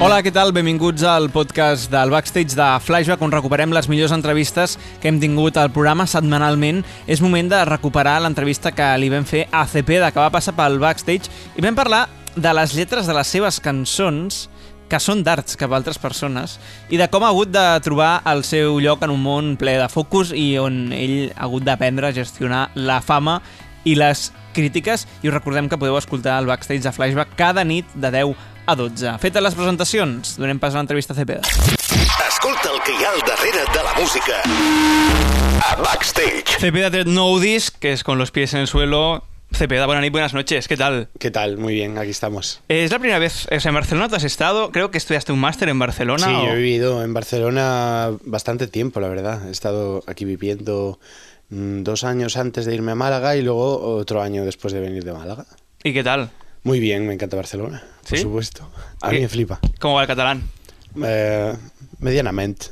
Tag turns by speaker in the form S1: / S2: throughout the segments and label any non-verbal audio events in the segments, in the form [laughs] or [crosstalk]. S1: Hola, què tal? Benvinguts al podcast del Backstage de Flashback, on recuperem les millors entrevistes que hem tingut al programa setmanalment. És moment de recuperar l'entrevista que li vam fer a Cepeda, que va passar pel Backstage, i vam parlar de les lletres de les seves cançons, que són d'arts cap a altres persones, i de com ha hagut de trobar el seu lloc en un món ple de focus i on ell ha hagut d'aprendre a gestionar la fama i les crítiques i us recordem que podeu escoltar el backstage de Flashback cada nit de 10 a 12. Fetes les presentacions, donem pas a l'entrevista a Cepeda.
S2: Escolta el que hi ha al darrere de la música. A Backstage.
S1: Cepeda té nou disc, que és Con los pies en el suelo. Cepeda, buena nit, buenas noches, ¿qué tal?
S3: ¿Qué tal? Muy bien, aquí estamos.
S1: Eh, Es la primera vez, o sea, en Barcelona tú has estado, creo que estudiaste un máster en Barcelona.
S3: sí,
S1: o-
S3: yo he vivido en Barcelona bastante tiempo, la verdad. He estado aquí viviendo mm, dos años antes de irme a Málaga y luego otro año después de venir de Málaga.
S1: ¿Y qué tal?
S3: Muy bien, me encanta Barcelona, por
S1: ¿Sí?
S3: supuesto. A
S1: ¿Qué?
S3: mí me flipa.
S1: ¿Cómo va el catalán?
S3: Eh, medianamente.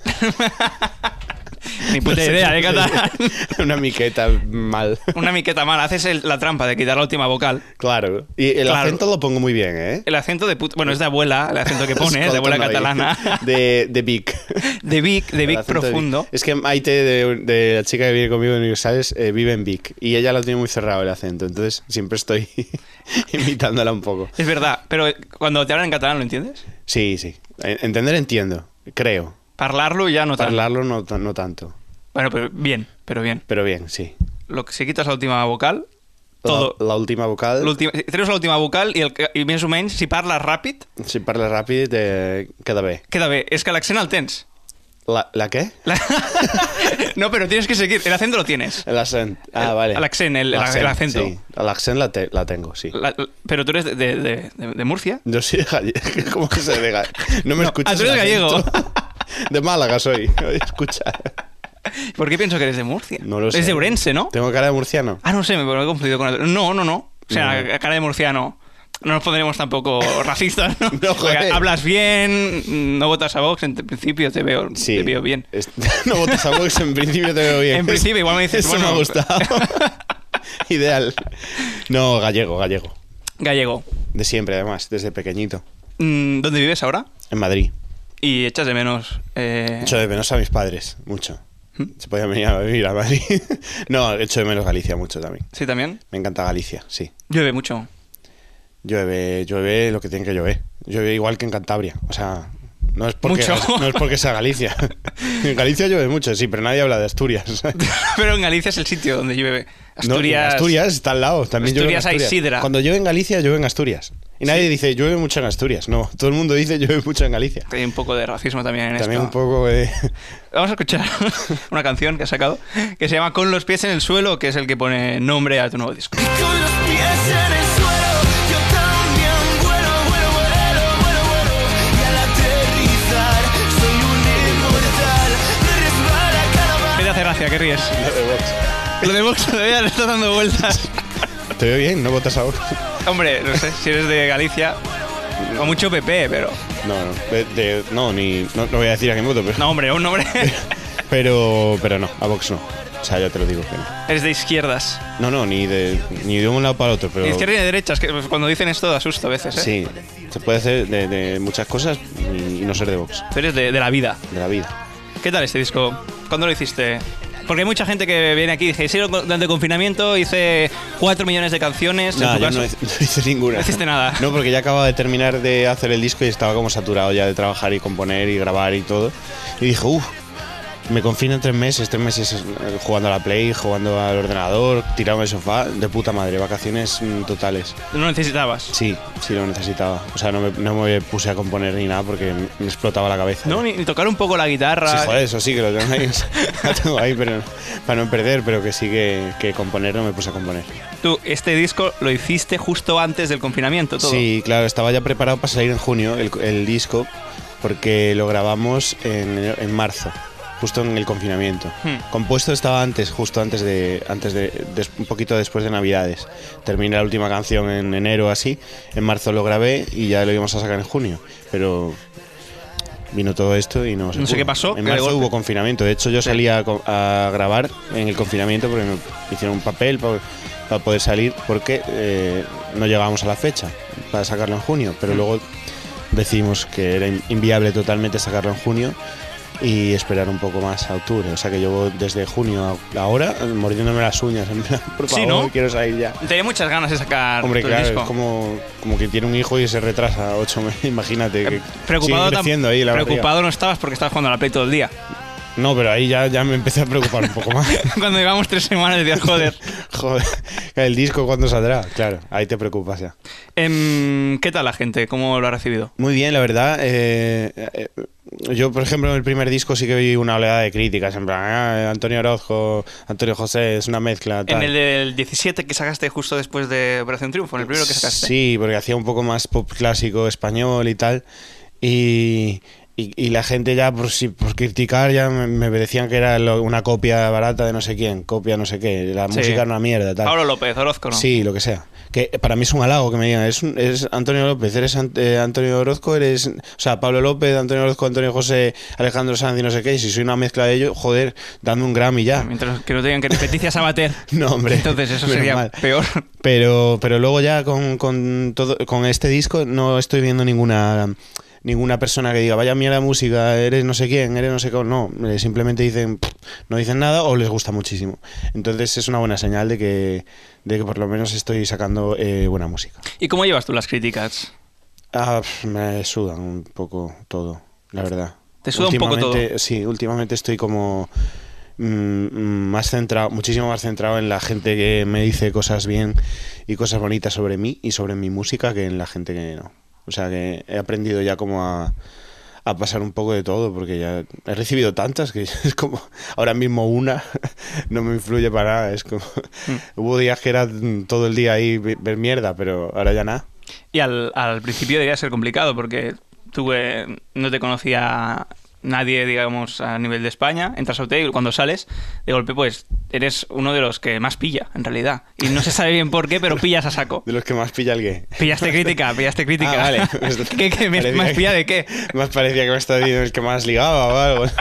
S1: Ni
S3: Pues,
S1: puta idea ¿eh?
S3: [laughs]
S1: de catalán.
S3: Una miqueta mal.
S1: Una miqueta mala, haces el- la trampa de quitar la última vocal.
S3: Claro. Y el
S1: Claro.
S3: acento lo pongo muy bien, ¿eh?
S1: El acento de puta... Bueno, es de abuela, el
S3: [laughs]
S1: acento que pone, es de abuela
S3: Escolta, no,
S1: catalana.
S3: [laughs] De,
S1: [laughs]
S3: de Vic.
S1: De Vic, de
S3: El
S1: Vic
S3: acento de
S1: profundo.
S3: Vic. Es que Maite, de, de la chica que vive conmigo en Universales, eh, vive en Vic. Y ella lo tiene muy cerrado el acento. Entonces siempre estoy [laughs] imitándola un poco.
S1: Es verdad, pero cuando te hablan en catalán, ¿lo entiendes?
S3: Sí, sí. En- Entender entiendo, creo.
S1: Parlarlo ya no tan...
S3: Hablarlo no, ta- no tanto.
S1: Bueno, pero bien, pero bien.
S3: Pero bien, sí.
S1: Lo que si quitas la última vocal,
S3: La-
S1: todo.
S3: La, última vocal.
S1: L'última- si treus l'última vocal i, el, que- i més o menys, si parles ràpid,
S3: Si parles ràpid, eh, queda bé.
S1: queda bé. És que l'accent el tens.
S3: La, la què?
S1: La- [laughs] no, pero tienes que seguir. El acento lo tienes.
S3: L'accent. Ah,
S1: El-
S3: vale.
S1: l'accent, el-
S3: L'accent,
S1: el acento.
S3: Sí. L'accent la, te- la tengo, sí.
S1: La- la- pero tú eres de, de, de- de- de Murcia.
S3: Yo soy de [laughs] gallego. ¿Cómo que soy de gallego? No me
S1: No,
S3: escuchas.
S1: ah, tú eres
S3: el
S1: gallego.
S3: acento. [laughs] De Málaga soy. [laughs] Oye, Escucha.
S1: ¿Por qué pienso que eres de Murcia?
S3: No lo sé.
S1: Es de Urense, ¿no?
S3: Tengo cara de murciano.
S1: Ah, no sé, me me he confundido con... otro. No, no, no. O sea,
S3: No.
S1: a- a cara de murciano. No nos pondremos
S3: [laughs]
S1: tampoco racistas, ¿no?
S3: No, joder.
S1: Porque Hablas bien, no votas a Vox, en principio te veo, Ah, te veo bien.
S3: Es- [laughs] No votas a Vox, en principio te veo bien.
S1: En principio, igual me dices,
S3: Eso me
S1: bueno.
S3: ha gustado. [laughs] Ideal. No, gallego, gallego.
S1: Gallego.
S3: De siempre, además, desde pequeñito.
S1: Mm, ¿Dónde vives ahora?
S3: En Madrid.
S1: Y echas de menos... eh, ¿Mm?
S3: Echo de menos a mis padres, mucho. Se podían venir a vivir a Madrid. [laughs] No, echo de menos Galicia mucho también.
S1: Sí, también.
S3: Me encanta Galicia, sí.
S1: Llueve mucho. [laughs]
S3: Llueve, llueve lo que tiene que llover. Llueve igual que en Cantabria. O sea, no es porque,
S1: Mucho.
S3: [laughs] no es porque sea Galicia.
S1: [laughs]
S3: En Galicia llueve mucho, sí, pero nadie habla de Asturias. [laughs]
S1: Pero en Galicia es el sitio donde llueve.
S3: No, y en
S1: Asturias.
S3: Asturias está al lado. También llueve en
S1: Asturias hay sidra.
S3: Cuando llueve en Galicia, llueve en Asturias. Y nadie dice llueve mucho en Asturias. No, todo el mundo dice llueve mucho en Galicia.
S1: Hay un poco de racismo también en
S3: También un
S1: esto.
S3: poco de. [laughs]
S1: Vamos a escuchar [laughs] una canción que ha sacado que se llama Con los pies en el suelo, que es el que pone nombre a tu nuevo disco.
S4: Con los pies en el suelo, yo también vuelo, vuelo, vuelo, vuelo, vuelo. Y al aterrizar, soy un inmortal. Me resbala cada
S1: ¿Qué te hace gracia? ¿Qué ríes? Lo de Vox todavía le está dando vueltas.
S3: Te veo bien, no votas ahora.
S1: Hombre, no sé, si eres de Galicia, o mucho PP, pero...
S3: No, no, de- de- no, ni, no, no voy a decir a quién voto, pero,
S1: No, hombre, un [laughs] hombre...
S3: pero, pero no, a Vox no. O sea, ya te lo digo que no.
S1: eres de izquierdas.
S3: No, no, ni de, ni de un lado para otro, pero.
S1: De izquierda y de derechas, que pues, cuando dicen esto da susto a veces, ¿eh?
S3: Sí, se puede hacer de, de muchas cosas y, y no ser de Vox,
S1: Tú eres de, de la vida.
S3: de la vida.
S1: ¿Qué tal este disco? ¿Cuándo lo hiciste? Porque hay mucha gente que viene aquí y dice, hicieron durante el confinamiento, hice 4 millones de canciones. en
S3: No,
S1: tu
S3: yo
S1: caso.
S3: no, hice- [laughs] no hice ninguna.
S1: No hiciste nada.
S3: No, porque ya acababa de terminar de hacer el disco y estaba como saturado ya de trabajar y componer y grabar y todo. Y dije, uff, me confino tres meses, tres meses eh, jugando a la Play, jugando al ordenador, tirado en el sofá, de puta madre, vacaciones mm, totales.
S1: No necesitabas.
S3: Sí, sí lo necesitaba. O sea, no me, no me puse a componer ni nada porque me explotaba la cabeza.
S1: No, ni, ni tocar un poco la guitarra.
S3: Sí, joder, eso sí que lo tengo ahí, [laughs] lo tengo ahí, pero para no perder, pero que sí que, que componer no me puse a componer.
S1: Tú, este disco lo hiciste justo antes del confinamiento, todo.
S3: Sí, claro, estaba ya preparado para salir en junio el, el disco, porque lo grabamos en, en marzo, justo en el confinamiento.
S1: Hmm.
S3: Compuesto estaba antes, justo antes de, antes de, des- un poquito después de Navidades. Terminé la última canción en enero así, en marzo lo grabé y ya lo íbamos a sacar en junio, pero vino todo esto y no se
S1: No sé
S3: pudo.
S1: qué pasó, que
S3: En
S1: de
S3: marzo
S1: golpe-
S3: hubo confinamiento. De hecho, yo salía a, co- a grabar en el confinamiento porque me hicieron un papel para poder salir porque eh, no llegábamos a la fecha para sacarlo en junio. Pero luego decidimos que era in- inviable totalmente sacarlo en junio y esperar un poco más a octubre. O sea que llevo desde junio a ahora eh, mordiéndome las uñas. En plan, por
S1: Sí,
S3: favor,
S1: ¿no?
S3: quiero salir ya.
S1: Tenía muchas ganas de sacar
S3: Hombre,
S1: tu
S3: claro,
S1: disco.
S3: es como, como que tiene un hijo y se retrasa ocho meses. [laughs] Imagínate que
S1: Eh, Preocupado,
S3: sigue
S1: tam-
S3: creciendo ahí la barriga.
S1: preocupado no estabas porque estabas jugando a la Play todo el día. [laughs]
S3: No, pero ahí ya, ya me empecé a preocupar un poco más. [laughs]
S1: Cuando llevamos tres semanas decía, joder.
S3: Joder, el disco cuándo saldrá, claro, ahí te preocupas ya.
S1: Em, ¿Qué tal la gente? ¿Cómo lo ha recibido?
S3: Muy bien, la verdad. eh, eh, yo, por ejemplo, en el primer disco sí que vi una oleada de críticas, en plan, "Ah, Antonio Orozco, Antonio José, es una mezcla. Tal.
S1: En el del 17 que sacaste justo después de Operación Triunfo, en el primero que sacaste.
S3: Sí, porque hacía un poco más pop clásico español y tal. Y, y- y la gente ya, por, si, por criticar, ya me, me decían que era lo- una copia barata de no sé quién, copia no sé qué, la
S1: Sí.
S3: música era una mierda. Tal.
S1: Pablo López, Orozco, ¿no?
S3: Sí, lo que sea. Que para mí es un halago que me digan, es Antonio López, eres Ant- eh, Antonio Orozco, eres, o sea, Pablo López, Antonio Orozco, Antonio José, Alejandro Sanz y no sé qué, y si soy una mezcla de ellos, joder, dando un Grammy ya.
S1: Mientras que no tengan que repetir a Sabater.
S3: [laughs] No, hombre.
S1: Entonces eso
S3: menos
S1: sería
S3: mal.
S1: peor.
S3: Pero, pero luego ya con, con todo, con este disco no estoy viendo ninguna ninguna persona que diga, vaya mierda de música, eres no sé quién, eres no sé cómo. No, eh, simplemente dicen, "Pff", no dicen nada o les gusta muchísimo. Entonces es una buena señal de que, de que por lo menos estoy sacando eh, buena música.
S1: ¿Y cómo llevas tú las críticas?
S3: Ah, pf, me sudan un poco todo, la verdad.
S1: ¿Te suda un poco
S3: Últimamente- Sí, últimamente estoy como mm, mm, más centrado, muchísimo más centrado en la gente que me dice cosas bien y cosas bonitas sobre mí y sobre mi música que en la gente que no. O sea que he aprendido ya como a, a pasar un poco de todo porque ya he recibido tantas que [laughs] es como ahora mismo una [laughs] no me influye para nada. Es como [laughs] hubo días que era mm, todo el día ahí ve- ver mierda, pero ahora ya nada.
S1: Y al, al principio debía ser complicado porque tú eh, no te conocía nadie, digamos, a nivel de España. Entras a OT y cuando sales, de golpe, pues eres uno de los que más pilla, en realidad. Y no se sabe bien por qué, pero pillas a saco.
S3: [laughs] De los que más pilla el gay.
S1: Pillaste crítica, pillaste crítica.
S3: Ah, vale.
S1: [laughs] ¿Qué, qué? ¿Me-
S3: Parecía
S1: ¿Más
S3: que-
S1: pilla de qué?
S3: Más parecía que me estaba diciendo el que más ligaba
S1: [laughs]
S3: o algo.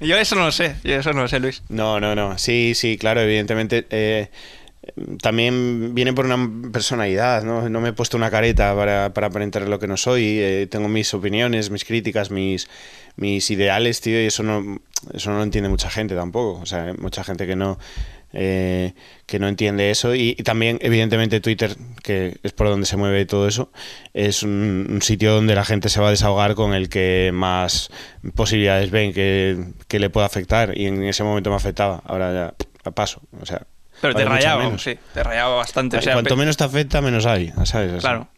S1: Yo eso no lo sé, yo eso no lo sé, Luis.
S3: No, no, no. Sí, sí, claro, evidentemente. eh, también viene por una personalidad, ¿no? No me he puesto una careta para, para aparentar lo que no soy. eh, tengo mis opiniones, mis críticas, mis, mis ideales, tío, y eso no, eso no lo entiende mucha gente tampoco. O sea, hay mucha gente que no. eh, que no entiende eso y, y también evidentemente Twitter que es por donde se mueve todo eso es un, un sitio donde la gente se va a desahogar con el que más posibilidades ven que, que le pueda afectar y en ese momento me afectaba ahora ya a paso o sea
S1: Pero te
S3: ahora mucha
S1: rayaba,
S3: menos.
S1: sí, te rayaba bastante. o sea,
S3: Cuanto
S1: pe-
S3: menos ¿eh? te afecta, menos hay, ¿sabes? O sea,
S1: Claro.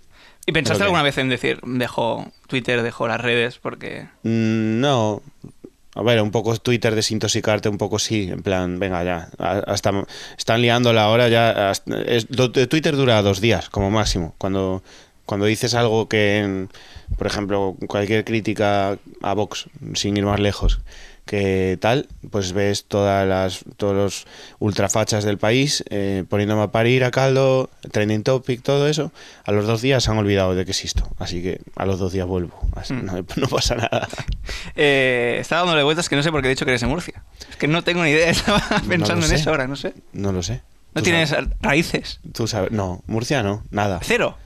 S1: ¿Y pensaste
S3: Creo que-
S1: alguna vez en decir, dejo Twitter, dejo las redes, porque
S3: mm, No. A ver, un poco Twitter desintoxicarte, un poco sí, en plan, venga ya, a- hasta están liando la hora ya, hasta- es- lo de Twitter dura dos días como máximo, cuando, cuando dices algo que, en- por ejemplo, cualquier crítica a Vox, sin ir más lejos, que tal, pues ves todas las, todos los ultrafachas del país eh, poniéndome a parir a caldo, trending topic, todo eso, a los dos días se han olvidado de que existo, así que a los dos días vuelvo, así,
S1: Mm.
S3: no, no pasa nada.
S1: Eh, estaba dándole vueltas que no sé por qué he dicho que eres de Murcia. Es que no tengo ni idea, [laughs] estaba pensando en
S3: sé.
S1: eso ahora, no sé.
S3: No lo sé.
S1: No
S3: Tú
S1: tienes
S3: sabes-
S1: raíces.
S3: tú sabes. No, Murcia no, nada.
S1: Cero.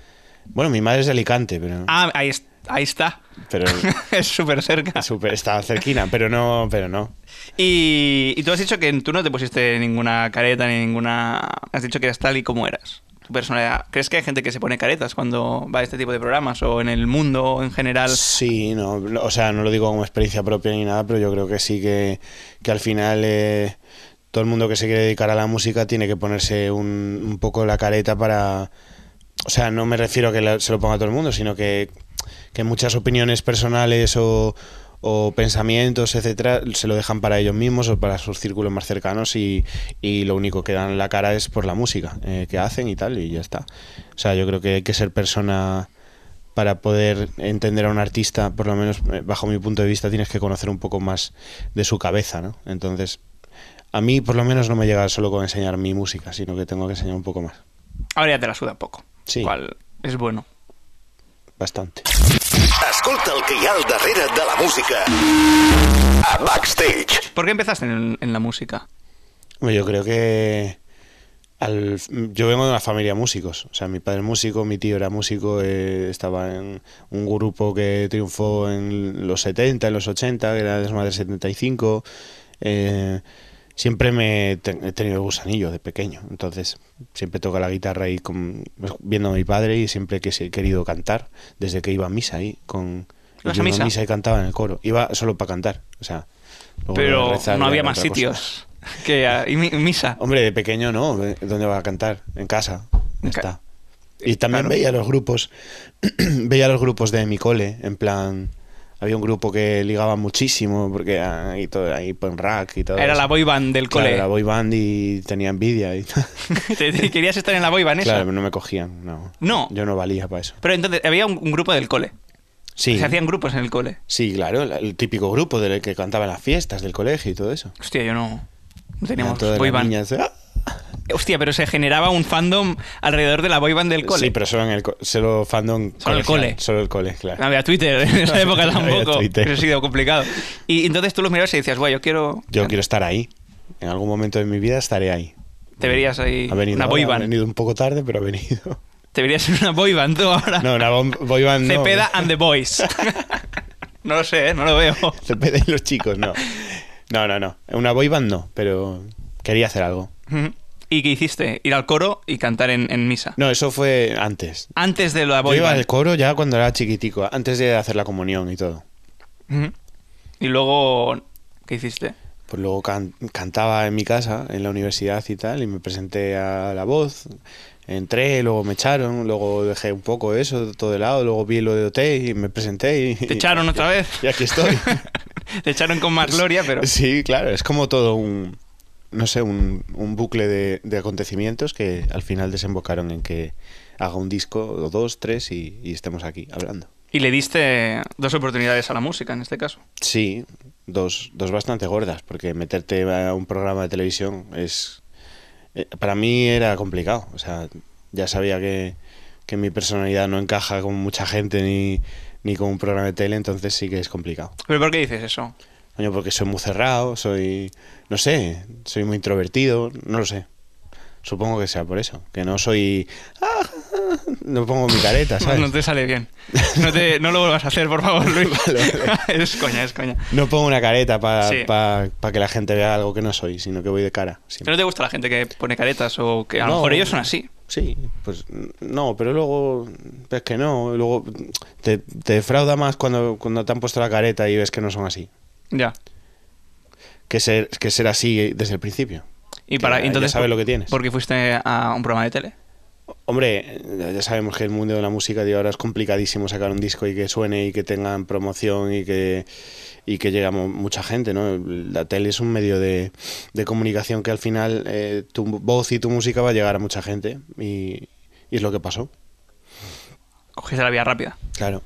S3: Bueno, mi madre es de Alicante, pero.
S1: Ah, ahí, es- ahí está. [laughs]
S3: Pero.
S1: es súper cerca.
S3: súper- está cerquina, pero no, pero no.
S1: Y, y tú has dicho que tú no te pusiste ninguna careta ni ninguna. Has dicho que eras tal y como eras. Tu personalidad. ¿Crees que hay gente que se pone caretas cuando va a este tipo de programas o en el mundo o en general?
S3: Sí, no, no, o sea, no lo digo como experiencia propia ni nada, pero yo creo que sí que, que al final eh, todo el mundo que se quiere dedicar a la música tiene que ponerse un, un poco la careta para... O sea, no me refiero a que la- se lo ponga a todo el mundo, sino que, que muchas opiniones personales o, o pensamientos, etcétera, se lo dejan para ellos mismos o para sus círculos más cercanos y, y lo único que dan la cara es por la música eh, que hacen y tal, y ya está. O sea, yo creo que hay que ser persona para poder entender a un artista, por lo menos eh, bajo mi punto de vista, tienes que conocer un poco más de su cabeza, ¿no? Entonces, a mí por lo menos no me llega solo con enseñar mi música, sino que tengo que enseñar un poco más,
S1: Ahora ya te la suda un poco.
S3: Sí.
S1: Cual es bueno.
S3: bastante.
S2: Escolta el que hi ha al darrere de la música. A Backstage.
S1: ¿Por qué empezaste en, en la música?
S3: Hombre, Yo creo que al- yo vengo de una familia de músicos. O sea, mi padre es músico, mi tío era músico, eh, estaba en un grupo que triunfó en los 70, en los 80, que era Desmadre 75. Eh, siempre me te- he tenido el gusanillo de pequeño. Entonces, siempre toca la guitarra ahí con- viendo a mi padre y siempre que sí he querido cantar, desde que iba a misa ahí con.
S1: ¿Ibas a
S3: yo iba
S1: misa?
S3: y cantaba en el coro. Iba solo para cantar, o sea. luego de
S1: Pero
S3: rezar
S1: no
S3: ya
S1: había
S3: era
S1: más
S3: otra cosa.
S1: sitios que ah, y mi- misa.
S3: Hombre, de pequeño no. eh, ¿Dónde va a cantar? En casa. Ya
S1: En ca-
S3: está. Y también
S1: Claro.
S3: veía los grupos, [clears throat] veía los grupos de mi cole, en plan, había un grupo que ligaba muchísimo, porque ahí todo, ahí punk rock y todo.
S1: Era
S3: eso.
S1: la boy band del
S3: Claro,
S1: cole.
S3: la boy band y tenía envidia y [laughs] tal.
S1: [laughs] Te- te- Querías estar en la boy band esa.
S3: Claro, no me cogían, no.
S1: No.
S3: Yo no valía para eso.
S1: Pero entonces había un, un grupo del cole.
S3: Sí,
S1: Se hacían grupos en el cole.
S3: sí, claro, la- el típico grupo del que cantaba en las fiestas del colegio y todo eso.
S1: Hostia, yo no. No
S3: Eran
S1: teníamos
S3: todas
S1: boy
S3: las
S1: band.
S3: niñas, ¡ah!
S1: Hostia, pero se generaba un fandom alrededor de la boy band del cole.
S3: Sí, pero solo en el, co- solo fandom.
S1: Solo el
S3: colegial,
S1: cole.
S3: Solo el cole, claro.
S1: No había Twitter [laughs] en esa época
S3: No había
S1: tampoco.
S3: Twitter.
S1: Eso ha sido complicado. Y entonces tú los mirabas y decías, guay, yo quiero.
S3: Yo quiero estar ahí. En algún momento de mi vida estaré ahí.
S1: Te verías ahí.
S3: Ha venido,
S1: una
S3: ahora,
S1: boy
S3: ha
S1: band.
S3: venido un poco tarde, pero ha
S1: [laughs]
S3: venido.
S1: Te verías en una boy band tú ahora.
S3: No, una bom- boy band no.
S1: Cepeda and the Boys.
S3: [laughs]
S1: no lo sé, ¿eh? no lo veo.
S3: Cepeda y los chicos, no. No, no, no. Una boy band no, pero quería hacer algo.
S1: ¿Y qué hiciste? Ir al coro y cantar en, en misa.
S3: No, eso fue antes.
S1: Antes de la
S3: Yo
S1: boy
S3: iba al
S1: band.
S3: coro ya cuando era chiquitico, antes de hacer la comunión y todo.
S1: Ujú. Y luego, ¿qué hiciste?
S3: Pues luego can- cantaba en mi casa, en la universidad y tal, y me presenté a la voz. Entré, luego me echaron, luego dejé un poco eso de todo de lado, luego vi lo de OT y me presenté y...
S1: Te echaron otra vez.
S3: Y aquí estoy.
S1: [laughs] Te echaron con más gloria,
S3: [laughs]
S1: pero.
S3: Sí, claro, es como todo un, no sé, un, un bucle de, de acontecimientos que al final desembocaron en que haga un disco o dos, tres y, y estemos aquí hablando.
S1: Y le diste dos oportunidades a la música en este caso.
S3: Sí, dos, dos bastante gordas, porque meterte a un programa de televisión es... eh, Para mí era complicado, o sea, ya sabía que, que mi personalidad no encaja con mucha gente ni, ni con un programa de tele, entonces sí que es complicado.
S1: ¿Pero por qué dices eso?
S3: Coño, porque soy muy cerrado, soy. No sé, soy muy introvertido, no lo sé. Supongo que sea por eso, que no soy. ah, No pongo mi careta,
S1: [laughs] No,
S3: ¿sabes?
S1: no te sale bien. No, te- no lo vuelvas a hacer, por favor,
S3: [laughs]
S1: Luis. [laughs] es coña, es coña.
S3: No pongo una careta para
S1: Sí.
S3: que la gente vea algo que no soy, sino que voy de cara. siempre.
S1: ¿Pero no te gusta la gente que pone caretas o que a lo
S3: No.
S1: mejor ellos son así?
S3: Sí, pues no, pero luego ves que no, luego te, te defrauda más cuando, cuando te han puesto la careta y ves que no son así,
S1: Ya.
S3: que ser, que ser así desde el principio.
S1: Y
S3: Que
S1: para
S3: ya- ya
S1: entonces
S3: sabes lo que tienes.
S1: Porque fuiste a un programa de tele.
S3: Hombre, ya sabemos que el mundo de la música de ahora es complicadísimo sacar un disco y que suene y que tengan promoción y que, y que llegue a mu- mucha gente, ¿no? La tele es un medio de, de comunicación que al final eh, tu voz y tu música va a llegar a mucha gente y, y es lo que pasó,
S1: Cogiste la vía rápida.
S3: claro.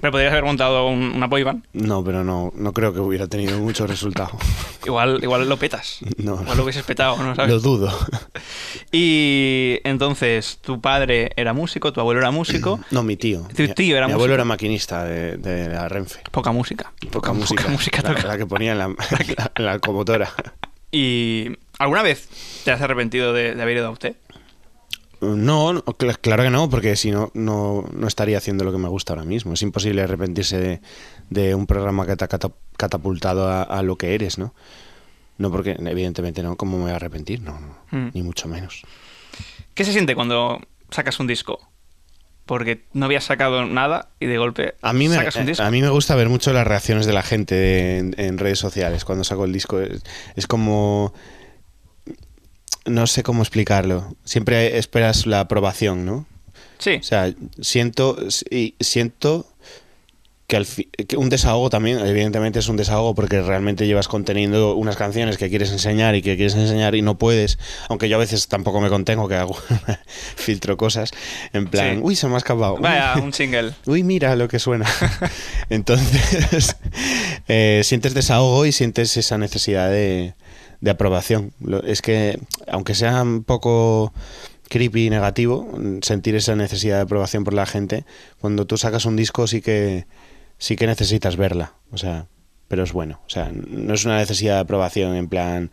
S1: Pero podrías haber montado un, una boy band.
S3: No, pero no, no creo que hubiera tenido
S1: [laughs]
S3: mucho resultado.
S1: Igual, igual lo
S3: [laughs]
S1: petas.
S3: No.
S1: Igual lo hubieses petado, ¿no sabes?
S3: lo dudo.
S1: Y entonces, tu padre era músico, tu abuelo era
S3: [clears throat]
S1: músico.
S3: No, mi tío.
S1: Tu tío era
S3: Mi abuelo
S1: músico.
S3: era maquinista de, de la Renfe.
S1: Poca música.
S3: Poca música.
S1: música
S3: la,
S1: toca.
S3: la que ponía
S1: [laughs]
S3: en la, en la locomotora.
S1: ¿Y alguna vez te has arrepentido de, de haber ido a usted?
S3: No, no, cl- claro que no, porque si no, no, no estaría haciendo lo que me gusta ahora mismo. Es imposible arrepentirse de, de un programa que te ha cata- catapultado a, a lo que eres, ¿no? No, porque evidentemente no, ¿cómo me voy a arrepentir? No, no,
S1: Mm.
S3: ni mucho menos.
S1: ¿Qué se siente cuando sacas un disco? Porque no habías sacado nada y de golpe
S3: A mí, me, eh,
S1: sacas un disco.
S3: a mí me gusta ver mucho las reacciones de la gente de- en, en redes sociales cuando saco el disco. Es, es como... No sé cómo explicarlo. Siempre esperas la aprobación, ¿no?
S1: Sí.
S3: O sea, siento, y siento que, al fi- que un desahogo también, evidentemente es un desahogo porque realmente llevas conteniendo unas canciones que quieres enseñar y que quieres enseñar y no puedes, aunque yo a veces tampoco me contengo, que hago, [laughs] filtro cosas, en plan,
S1: Sí.
S3: uy, se me ha escapado. uy,
S1: Vaya, un single.
S3: Uy, mira lo que suena. Entonces, [laughs] eh, sientes desahogo y sientes esa necesidad de, de aprobación. Lo- Es que, aunque sea un poco creepy y negativo, mm, sentir esa necesidad de aprobación por la gente, cuando tú sacas un disco sí que, sí que necesitas verla. O sea, pero es bueno. O sea, no es una necesidad de aprobación en plan,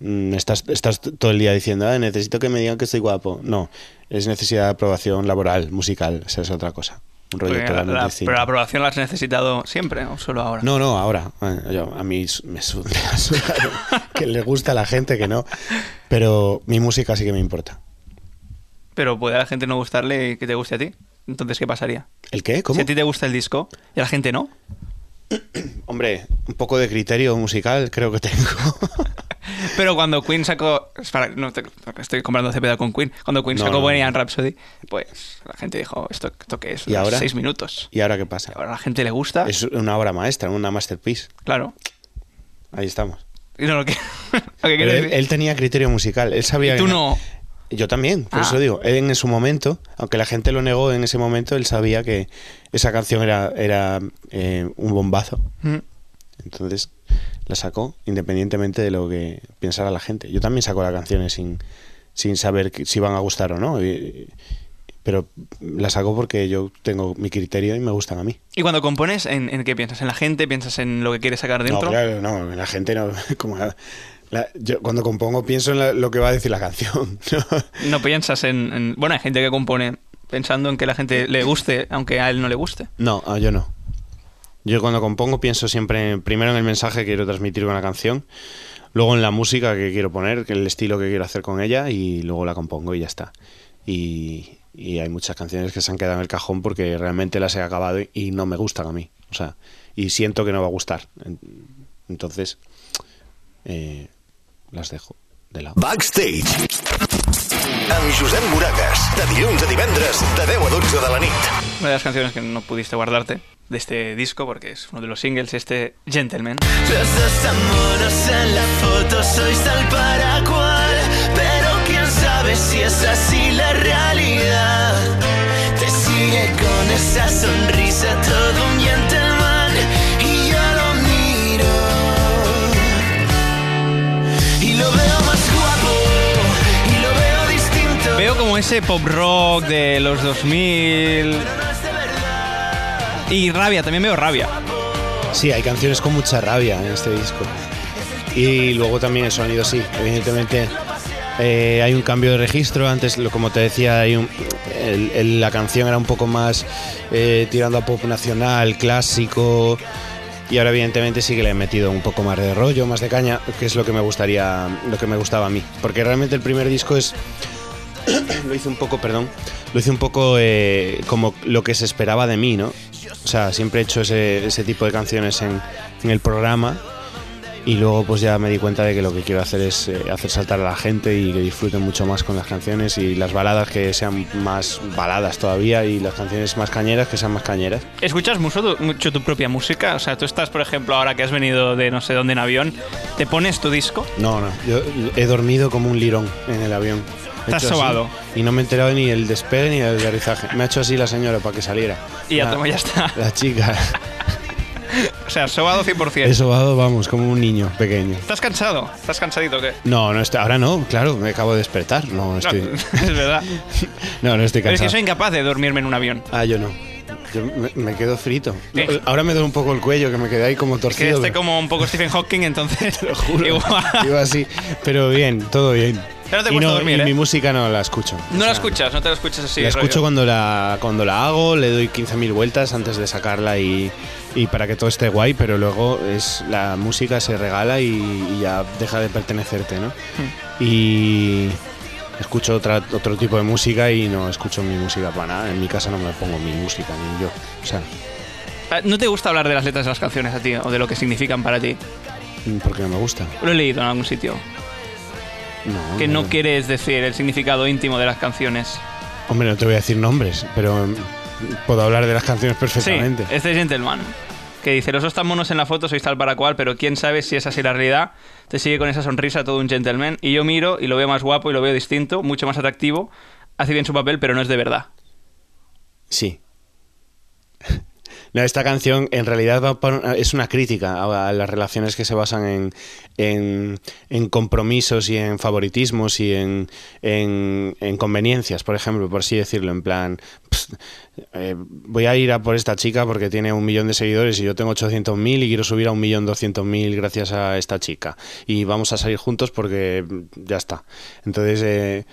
S3: mm, estás, estás todo el día diciendo, "Ah, necesito que me digan que estoy guapo. No, es necesidad de aprobación laboral, musical, esa es otra cosa. Un [laughs] rollo
S1: Porque la-
S3: totalmente
S1: la-
S3: distinto.
S1: pero la aprobación la has necesitado siempre o solo ahora.
S3: No, no, ahora. Ah, yo- a mí su- me su- [laughs] me ha sudado que le gusta a la gente, que no. Pero mi música sí que me importa.
S1: Pero puede a la gente no gustarle y que te guste a ti. Entonces, ¿qué pasaría?
S3: ¿El qué? ¿Cómo?
S1: Si a ti te gusta el disco y a la gente no,
S3: Hombre, un poco de criterio musical creo que tengo. [laughs]
S1: Pero cuando Queen sacó. espera, no te- estoy comprando Cepeda con Queen. Cuando Queen
S3: No,
S1: sacó
S3: no,
S1: Bohemian Rhapsody, pues la gente dijo: ¿Esto, esto qué es?
S3: ¿Y
S1: Unos
S3: ahora?
S1: Seis minutos.
S3: ¿Y ahora qué pasa?
S1: Ahora a la gente le gusta.
S3: Es una obra maestra, una masterpiece.
S1: Claro.
S3: Ahí estamos.
S1: Y no lo que, [laughs] lo que quiero
S3: Pero él,
S1: decir-
S3: él tenía criterio musical, él sabía...
S1: Y tú
S3: que-
S1: no.
S3: Yo también, por
S1: Ah.
S3: eso digo, él en su momento, aunque la gente lo negó en ese momento, él sabía que esa canción era, era eh, un bombazo.
S1: Mm.
S3: Entonces la sacó independientemente de lo que pensara la gente. Yo también saco las canciones sin, sin saber que- si van a gustar o no. y- pero la saco porque yo tengo mi criterio y me gustan a mí.
S1: Y cuando compones, ¿en, en qué piensas? ¿En la gente? ¿Piensas en lo que quieres sacar
S3: No,
S1: dentro?
S3: claro, no, la gente no. [laughs] Como la- la- yo cuando compongo pienso en la- lo que va a decir la canción. [laughs] ¿no?
S1: No piensas en, en- Bueno, hay gente que compone pensando en que la gente le guste, aunque a él no le guste.
S3: No, ah, yo no. Yo cuando compongo pienso siempre en- primero en el mensaje que quiero transmitir con la canción, luego en la música que quiero poner, que el estilo que quiero hacer con ella y luego la compongo y ya está. Y, y hay muchas canciones que se han quedado en el cajón porque realmente las he acabado y, y no me gustan a mí. O sea, y siento que no va a gustar. En- Entonces, eh, las dejo de lado.
S2: Backstage. Amb Josep Moragas. De dilluns a divendres, de 10 a 12 de la nit.
S1: Una de las canciones que no pudiste guardarte de este disco, porque es uno de los singles, este Gentleman.
S4: Los dos tan monos en la foto sois tal para cual Pero quién sabe si es así la realidad Te sigue con esa sonrisa todo un gentleman Y yo lo miro Y lo veo más guapo Y lo veo distinto
S1: Veo como ese pop rock de los 2000,
S4: Pero no es de verdad
S1: Y rabia, también veo rabia.
S3: Sí, hay canciones con mucha rabia en este disco. Y luego también el sonido, sí, evidentemente. eh, hay un cambio de registro, antes lo- como te decía, hay un- el- el- la canción era un poco más eh, tirando a pop nacional, clásico, y ahora evidentemente sí que le he metido un poco más de rollo, más de caña, que es lo que me gustaría, lo que me gustaba a mí, porque realmente el primer disco es [coughs] lo hice un poco, perdón, lo hice un poco eh, como lo que se esperaba de mí, ¿no? O sea, siempre he hecho ese, ese tipo de canciones en, en el programa y luego pues ya me di cuenta de que lo que quiero hacer es eh, hacer saltar a la gente y que disfruten mucho más con las canciones y las baladas que sean más baladas todavía y las canciones más cañeras que sean más cañeras.
S1: ¿Escuchas mucho tu, mucho tu propia música? O sea, tú estás, por ejemplo, ahora que has venido de no sé dónde en avión, te pones tu disco.
S3: No, no, yo he dormido como un lirón en el avión. He
S1: Te has
S3: hecho así
S1: sobado.
S3: Y no me he enterado ni del despegue ni del aterrizaje. Me ha hecho así la señora para que saliera.
S1: Y ya
S3: La-
S1: toma, ya está. [laughs]
S3: La chica.
S1: O sea, sobado 100%.
S3: He sobado, vamos, como un niño pequeño.
S1: ¿Estás cansado? ¿Estás cansadito o qué?
S3: No, no está, ahora no, claro, me acabo de despertar. No,
S1: No,
S3: estoy,
S1: [laughs] es verdad.
S3: [laughs] no, no
S1: [laughs]
S3: estoy
S1: Pero es que
S3: cansado.
S1: soy incapaz de dormirme en un avión.
S3: Ah, yo no. Yo me, me quedo frito.
S1: Eh.
S3: Ahora me duele un poco el cuello, que me quedé ahí como
S1: Es que
S3: torcido.
S1: esté
S3: pero-
S1: como un poco Stephen Hawking, entonces.
S3: [laughs] Te lo juro.
S1: Igual.
S3: [laughs] Digo así, pero bien, todo bien.
S1: Pero no te
S3: y
S1: cuesta
S3: no,
S1: dormir,
S3: y
S1: ¿eh?
S3: mi música no la escucho.
S1: No
S3: O
S1: la
S3: sea,
S1: escuchas, no te la escuchas así.
S3: la
S1: rollo.
S3: escucho cuando la, cuando la hago, le doy 15.000 vueltas antes de sacarla y, y para que todo esté guay, pero luego es la música se regala y, y ya deja de pertenecerte, ¿no?
S1: Hmm.
S3: Y escucho otra, otro tipo de música y no escucho mi música para nada. En mi casa no me pongo mi música, ni yo. O sea,
S1: Ah, ¿No te gusta hablar de las letras de las canciones a ti o de lo que significan para ti?
S3: porque no me gusta.
S1: Lo he leído en algún sitio.
S3: No,
S1: Que no quieres decir el significado íntimo de las canciones.
S3: Hombre, no te voy a decir nombres, pero mm, puedo hablar de las canciones
S1: Sí,
S3: perfectamente.
S1: este es Gentleman. Que dice, los dos tan monos en la foto sois tal para cual, pero quién sabe si es así la realidad. Te sigue con esa sonrisa todo un gentleman. Y yo miro y lo veo más guapo y lo veo distinto, mucho más atractivo. Hace bien su papel, pero no es de verdad.
S3: Sí. No, esta canción en realidad va por- es una crítica a, a las relaciones que se basan en, en, en compromisos y en favoritismos y en, en- en conveniencias, por ejemplo, por así decirlo, en plan, "Pst, eh, voy a ir a por esta chica porque tiene un millón de seguidores y yo tengo 800.000 y quiero subir a un millón doscientos mil gracias a esta chica. Y vamos a salir juntos porque mm, ya está. Entonces... eh,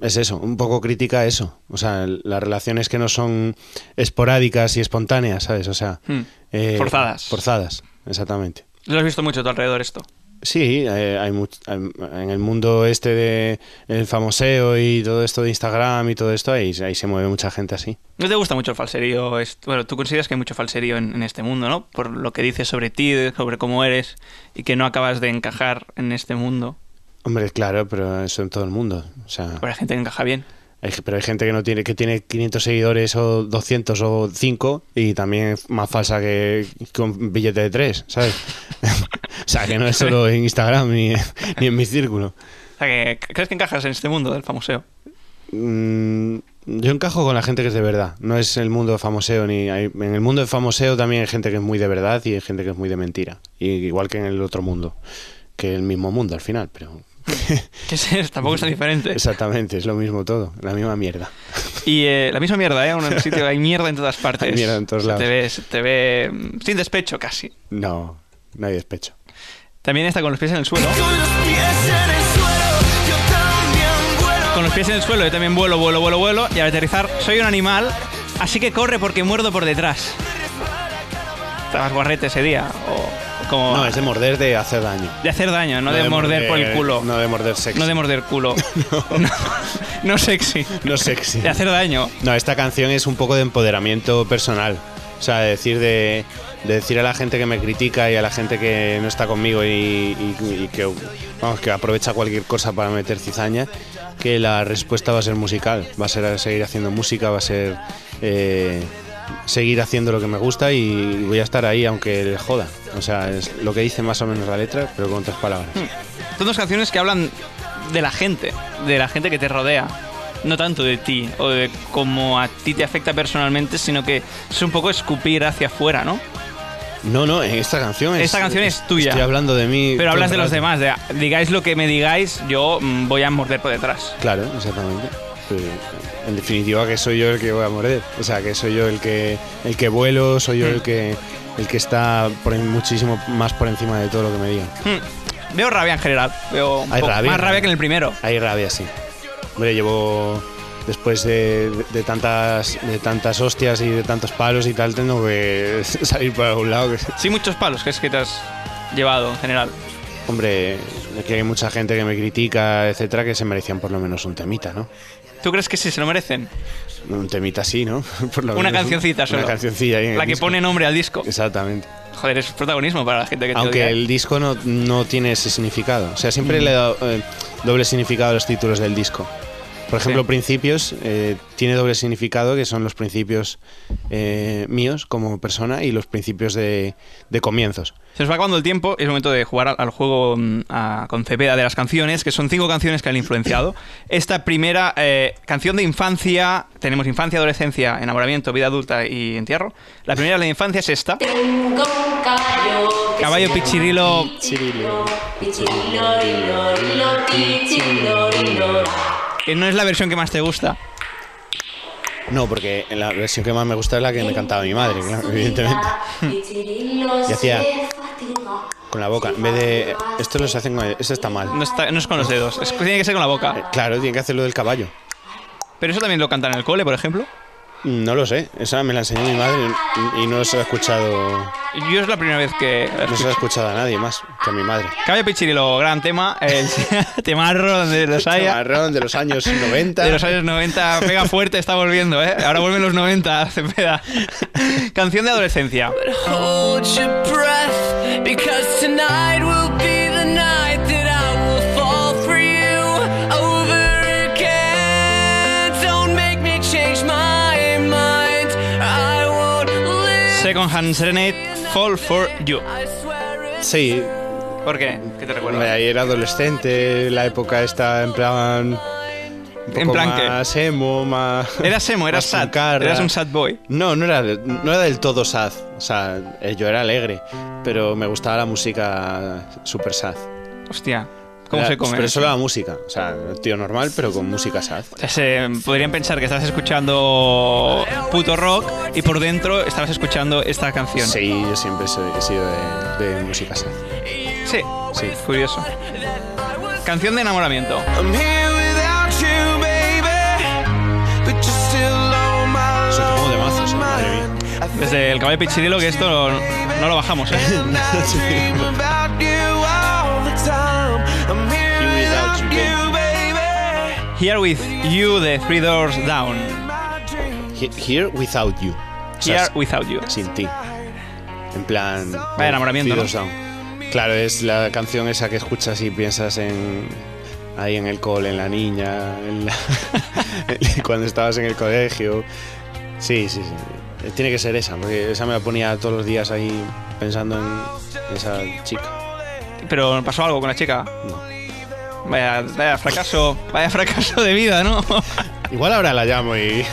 S3: es eso, un poco crítica a eso. O sea, el- las relaciones que no son esporádicas y espontáneas, ¿sabes? O sea,
S1: Hmm.
S3: eh,
S1: Forzadas.
S3: Forzadas, exactamente.
S1: Lo has visto mucho a tu alrededor esto.
S3: Sí, eh, hay much- hay- en el mundo este de el famoseo y todo esto de Instagram y todo esto, ahí, ahí se mueve mucha gente así.
S1: ¿No te gusta mucho el falserío? Es- Bueno, tú consideras que hay mucho falserío en, en este mundo, ¿no? Por lo que dices sobre ti, de- sobre cómo eres y que no acabas de encajar en este mundo.
S3: Hombre, claro, pero eso en todo el mundo. O sea,
S1: Pero la gente que encaja bien.
S3: hay ge- pero hay gente que no tiene que tiene 500 seguidores o 200 o 5 y también es más falsa que con billete de 3, ¿sabes? [laughs] o sea, que no es solo en Instagram ni, ni en mi círculo.
S1: O sea, que, ¿crees que encajas en este mundo del famoseo? [laughs]
S3: Mm, yo encajo con la gente que es de verdad. No es el mundo de famoseo ni hay- en el mundo de famoseo también hay gente que es muy de verdad y hay gente que es muy de mentira. Y igual que en el otro mundo, que el mismo mundo al final, pero
S1: Que es- tampoco es tan diferente.
S3: exactamente es lo mismo todo, la misma mierda.
S1: Y eh, la misma mierda, ¿eh? Aún
S3: [laughs]
S1: en el sitio hay mierda en todas partes.
S3: Hay mierda en todos
S1: Se
S3: lados.
S1: Te ve, se te ve mm, sin despecho casi.
S3: No, no hay despecho.
S1: También está con los pies en el suelo.
S4: Con los pies en el suelo, yo también vuelo.
S1: Con los pies en el suelo, yo también vuelo, vuelo, vuelo, vuelo. Y al aterrizar, soy un animal, así que corre porque muerdo por detrás. Estabas guarrete ese día. O, o como
S3: No, es de morder de hacer daño.
S1: de hacer daño, no, de, morder, por el culo.
S3: No
S1: No,
S3: de morder sexy. No,
S1: de morder
S3: [laughs]
S1: culo. [laughs] No, no sexy.
S3: sexy.
S1: De hacer daño.
S3: No, esta canción es un poco de empoderamiento personal. O sea, de decir, de, de decir a la gente que me critica y a la gente que no está conmigo y, y- y que, vamos, que aprovecha cualquier cosa para meter cizaña, que la respuesta va a ser musical. Va a ser seguir haciendo música, va a ser eh, seguir haciendo lo que me gusta y voy a estar ahí aunque le joda. O sea, es lo que dice más o menos la letra, pero con otras palabras.
S1: Hmm. Son dos canciones que hablan de la gente, de la gente que te rodea. No tanto de ti o de cómo a ti te afecta personalmente, sino que es un poco escupir hacia afuera, ¿no?
S3: No, no, esta canción es...
S1: Esta canción es tuya.
S3: Estoy hablando de mí.
S1: Pero
S3: todo
S1: hablas
S3: el
S1: de los
S3: rato.
S1: demás, de, digáis lo que me digáis, yo mm, voy a morder por detrás.
S3: Claro, exactamente. Eh, En definitiva, que soy yo el que voy a morder. O sea, que soy yo el que, el que vuelo, soy yo
S1: Mm.
S3: el que, el que está por en- muchísimo más por encima de todo lo que me digan.
S1: Mm, Veo rabia en general, veo un
S3: Hay
S1: poco
S3: rabia,
S1: más rabia
S3: ¿no?
S1: que en el primero.
S3: Hay rabia, sí. Hombre, llevo. Después de, de tantas, de tantas hostias y de tantos palos y tal, tengo que [laughs] salir para algún lado. que- [laughs]
S1: Sí, muchos palos que es que te has llevado en general.
S3: Hombre, que hay mucha gente que me critica, etcétera, que se merecían por lo menos un temita, ¿no?
S1: ¿Tú crees que sí se lo merecen?
S3: Un temita así, ¿no? [laughs] Por lo
S1: Una
S3: menos un-
S1: cancioncita solo.
S3: Una cancioncilla ahí en el
S1: La que
S3: disco.
S1: pone nombre al disco.
S3: Exactamente.
S1: Joder, es protagonismo para la gente que te
S3: Aunque
S1: odia.
S3: el disco no, no tiene ese significado. O sea, siempre
S1: Mm.
S3: le he dado eh, doble significado a los títulos del disco. Por ejemplo,
S1: Sí.
S3: Principios eh, tiene doble significado, que son los principios eh, míos como persona y los principios de, de comienzos.
S1: Se nos va acabando el tiempo, es momento de jugar al, al juego mm, a- con Cepeda de las canciones, que son cinco canciones que han influenciado. Esta primera eh, canción de infancia, tenemos infancia, adolescencia, enamoramiento, vida adulta y entierro. La primera, la de infancia, es esta.
S5: Tengo un caballo. que
S1: Caballo
S5: se llama
S1: pichirilo.
S5: Pichirilo. Pichirilorilo, pichirilorilo.
S1: que no es la versión que más te gusta.
S3: No, porque la versión que más me gusta es la que me cantaba mi madre, claro, evidentemente.
S5: Pichirilo
S3: Y hacía
S5: se fatigó.
S3: Con la boca. En vez de... Esto los hacen con... Esto está mal.
S1: No, está- no es con los dedos, es, tiene que ser con la boca.
S3: Eh, Claro, tiene que hacerlo del caballo.
S1: Pero eso también lo cantan en el cole, por ejemplo.
S3: Mm, No lo sé. Esa me la enseñó mi madre y y no se la he escuchado...
S1: Yo es la primera vez que... la
S3: No se la
S1: escucho.
S3: he escuchado a nadie más que a mi madre.
S1: Caballo Pichirilo, gran tema, el [laughs] temarro donde los haya.
S3: Chamarrón de los años 90.
S1: De los años 90, pega fuerte, está volviendo, ¿eh? Ahora vuelven los 90, Cepeda. Canción de adolescencia.
S6: Hold your breath because tonight will be the night that I will fall for you over again. Don't make me change my mind. I won't live.
S1: Second Hand Serenade, Fall for You.
S6: I swear it's
S3: Sí,
S1: ¿Por qué? ¿Qué te recuerda?
S3: hombre, ahí era adolescente, la época está en plan Un
S1: En
S3: poco
S1: plan que-
S3: más emo, más...
S1: Era emo, eras
S3: más
S1: sad,
S3: puncarra.
S1: eras un sad boy.
S3: No, no era, no era del todo sad. O sea, eh, yo era alegre, pero me gustaba la música super sad.
S1: Hostia, ¿cómo
S3: Era-
S1: se come?
S3: Pero
S1: eso?
S3: solo la música. O sea, tío normal, pero con música sad.
S1: O sea, se- podrían pensar que estás escuchando puto rock y por dentro estabas escuchando esta canción.
S3: Sí, yo siempre soy- he sido de, de música sad.
S1: Sí, sí, curioso. Canción de enamoramiento.
S4: I'm here without you, baby, but you're still on my
S3: Es un poco de mazos, eh, madre mía.
S4: mind.
S1: [laughs]
S4: I
S1: Desde el caballo de Pichirilo, que esto no, no lo bajamos, ¿eh?
S3: [laughs]
S4: And I dream about you all the time. I'm here
S3: Here without
S4: without
S3: you,
S4: you, baby.
S1: Here with You de Three Doors Down.
S3: He- Here without you. O sea,
S1: Here Without You.
S3: sin ti. En plan.
S1: Vaya enamoramiento,
S3: Feeders
S1: ¿no?
S3: Down. Claro, es la canción esa que escuchas y piensas en. Ahí en el cole, en la niña, en la- [laughs] cuando estabas en el colegio. Sí, sí, sí. Tiene que ser esa, porque esa me la ponía todos los días ahí pensando en esa chica.
S1: Pero pasó algo con la chica.
S3: No.
S1: Vaya, vaya fracaso, vaya fracaso de vida, ¿no? [laughs]
S3: Igual ahora la llamo y.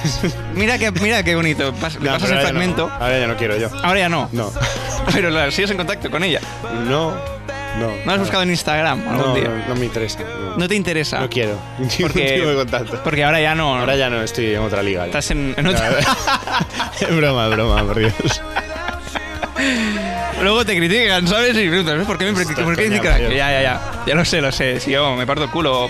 S1: mira que mira qué bonito. Pas- le pasas
S3: No,
S1: el
S3: pero ahora ya no.
S1: fragmento.
S3: Ahora ya no quiero yo.
S1: Ahora ya no.
S3: No.
S1: [laughs] Pero la, sigues en contacto con ella.
S3: No. No.
S1: No la has buscado en Instagram
S3: No,
S1: algún día.
S3: no, no me interesa. No,
S1: No te interesa.
S3: No
S1: [laughs]
S3: quiero. [laughs] Ningún tipo de contacto.
S1: porque ahora ya no.
S3: Ahora ya no estoy en otra liga. [laughs]
S1: Estás en, en otra-
S3: Es [laughs] broma, broma, por Dios.
S1: Luego te critican, ¿sabes? Y preguntas, ¿ves? ¿por qué me critican? ¿Por qué
S3: coña,
S1: critican?
S3: mayor.
S1: Ya, ya, ya. Ya lo sé, lo sé. Si yo me parto el culo.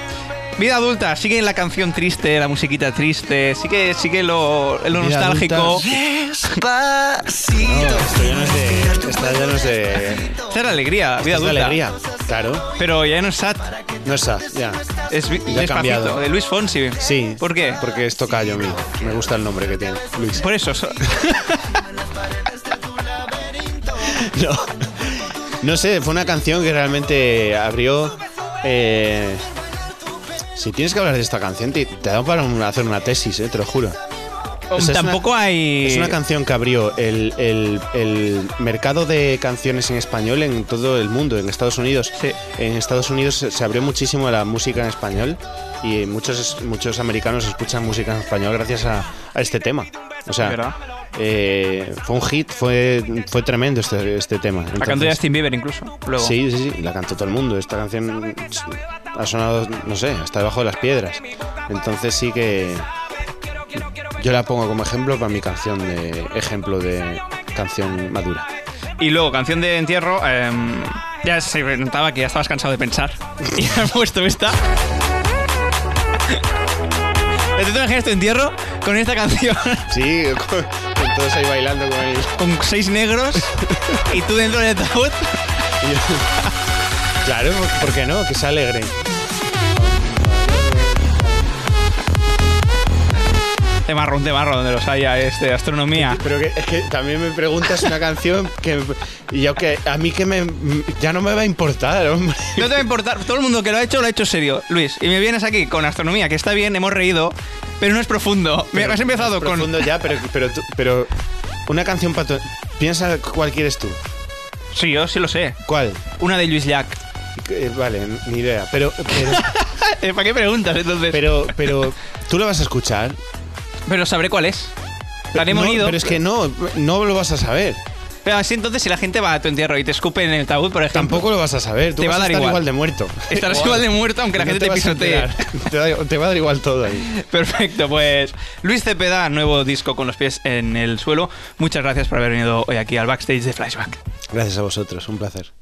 S1: Vida adulta, sigue la canción triste, la musiquita triste, sigue, sigue lo, lo
S3: Vida
S1: nostálgico.
S3: adulta. No, esto ya no es de. Esta ya no es de. esto
S1: Esta es la alegría, vida
S3: es de
S1: adulta.
S3: alegría. Claro.
S1: Pero ya no es sad,
S3: No está, ya.
S1: es vi-
S3: Ya ha
S1: despacito,
S3: cambiado.
S1: de Luis Fonsi.
S3: Sí.
S1: ¿Por qué? Por,
S3: Porque es tocayo mío. Me gusta el nombre que tiene. Luis.
S1: eso.
S3: [laughs]
S1: so-
S3: [laughs] No. No sé, fue una canción que realmente abrió. eh, si tienes que hablar de esta canción, te, te da para un- hacer una tesis, eh, te lo juro. O sea, es una-
S1: Tampoco hay.
S3: Es una canción que abrió el, el- el mercado de canciones en español en todo el mundo, en Estados Unidos.
S1: Sí.
S3: En Estados Unidos se se abrió muchísimo la música en español y muchos, muchos americanos escuchan música en español gracias a, a este tema. O
S1: ¿Verdad?
S3: sea, eh, fue un hit, fue, fue tremendo este, este tema.
S1: La canción de
S3: Entonces-
S1: Justin Bieber, incluso. Luego.
S3: Sí, sí, sí, la cantó todo el mundo. Esta canción ha sonado, no sé, hasta debajo de las piedras. Entonces sí que yo la pongo como ejemplo para mi canción de ejemplo de canción madura.
S1: Y luego, canción de entierro. em, ya se notaba que ya estabas cansado de pensar. [laughs] Y has puesto esta. [laughs] ¿Te te imaginas tu entierro con esta canción? [laughs]
S3: Sí, [laughs] con, con todos ahí bailando con el
S1: Con seis negros y tú dentro del ataúd.
S3: y yo- Claro, ¿por qué no? Que se alegre.
S1: Te marro, un temarro donde los haya, este, astronomía.
S3: Ah, Pero que, es que también me preguntas una canción que y yo que a mí que me ya no me va a importar, hombre.
S1: No te va a importar, todo el mundo que lo ha hecho lo ha hecho serio, Luis. Y me vienes aquí con astronomía, que está bien, hemos reído, pero no es profundo. Me has empezado
S3: Es profundo
S1: con.
S3: ya, pero, pero, tú- pero una canción para tu... Piensa cuál quieres tú.
S1: Sí, yo sí lo sé.
S3: ¿Cuál?
S1: Una de Luis Jack. [laughs]
S3: Eh, vale, ni idea. Pero, pero,
S1: Eh, ¿Para qué preguntas entonces?
S3: pero, pero tú lo vas a escuchar.
S1: Pero sabré cuál es. La hemos
S3: No,
S1: ido.
S3: Pero es que no, no lo vas a saber.
S1: Pero así entonces si la gente va a tu entierro y te escupe en el ataúd, por ejemplo.
S3: Tampoco lo vas a saber. Tú
S1: Te va
S3: vas
S1: a dar
S3: estar
S1: igual.
S3: de muerto.
S1: Estarás igual de muerto aunque la
S3: [laughs] No
S1: gente te,
S3: vas a
S1: pisotee. [laughs]
S3: enterar. Te, da- te va a dar igual todo ahí.
S1: Perfecto, pues Luis Cepeda, nuevo disco con los pies en el suelo. Muchas gracias por haber venido hoy aquí al backstage de Flashback.
S3: Gracias a vosotros, un placer.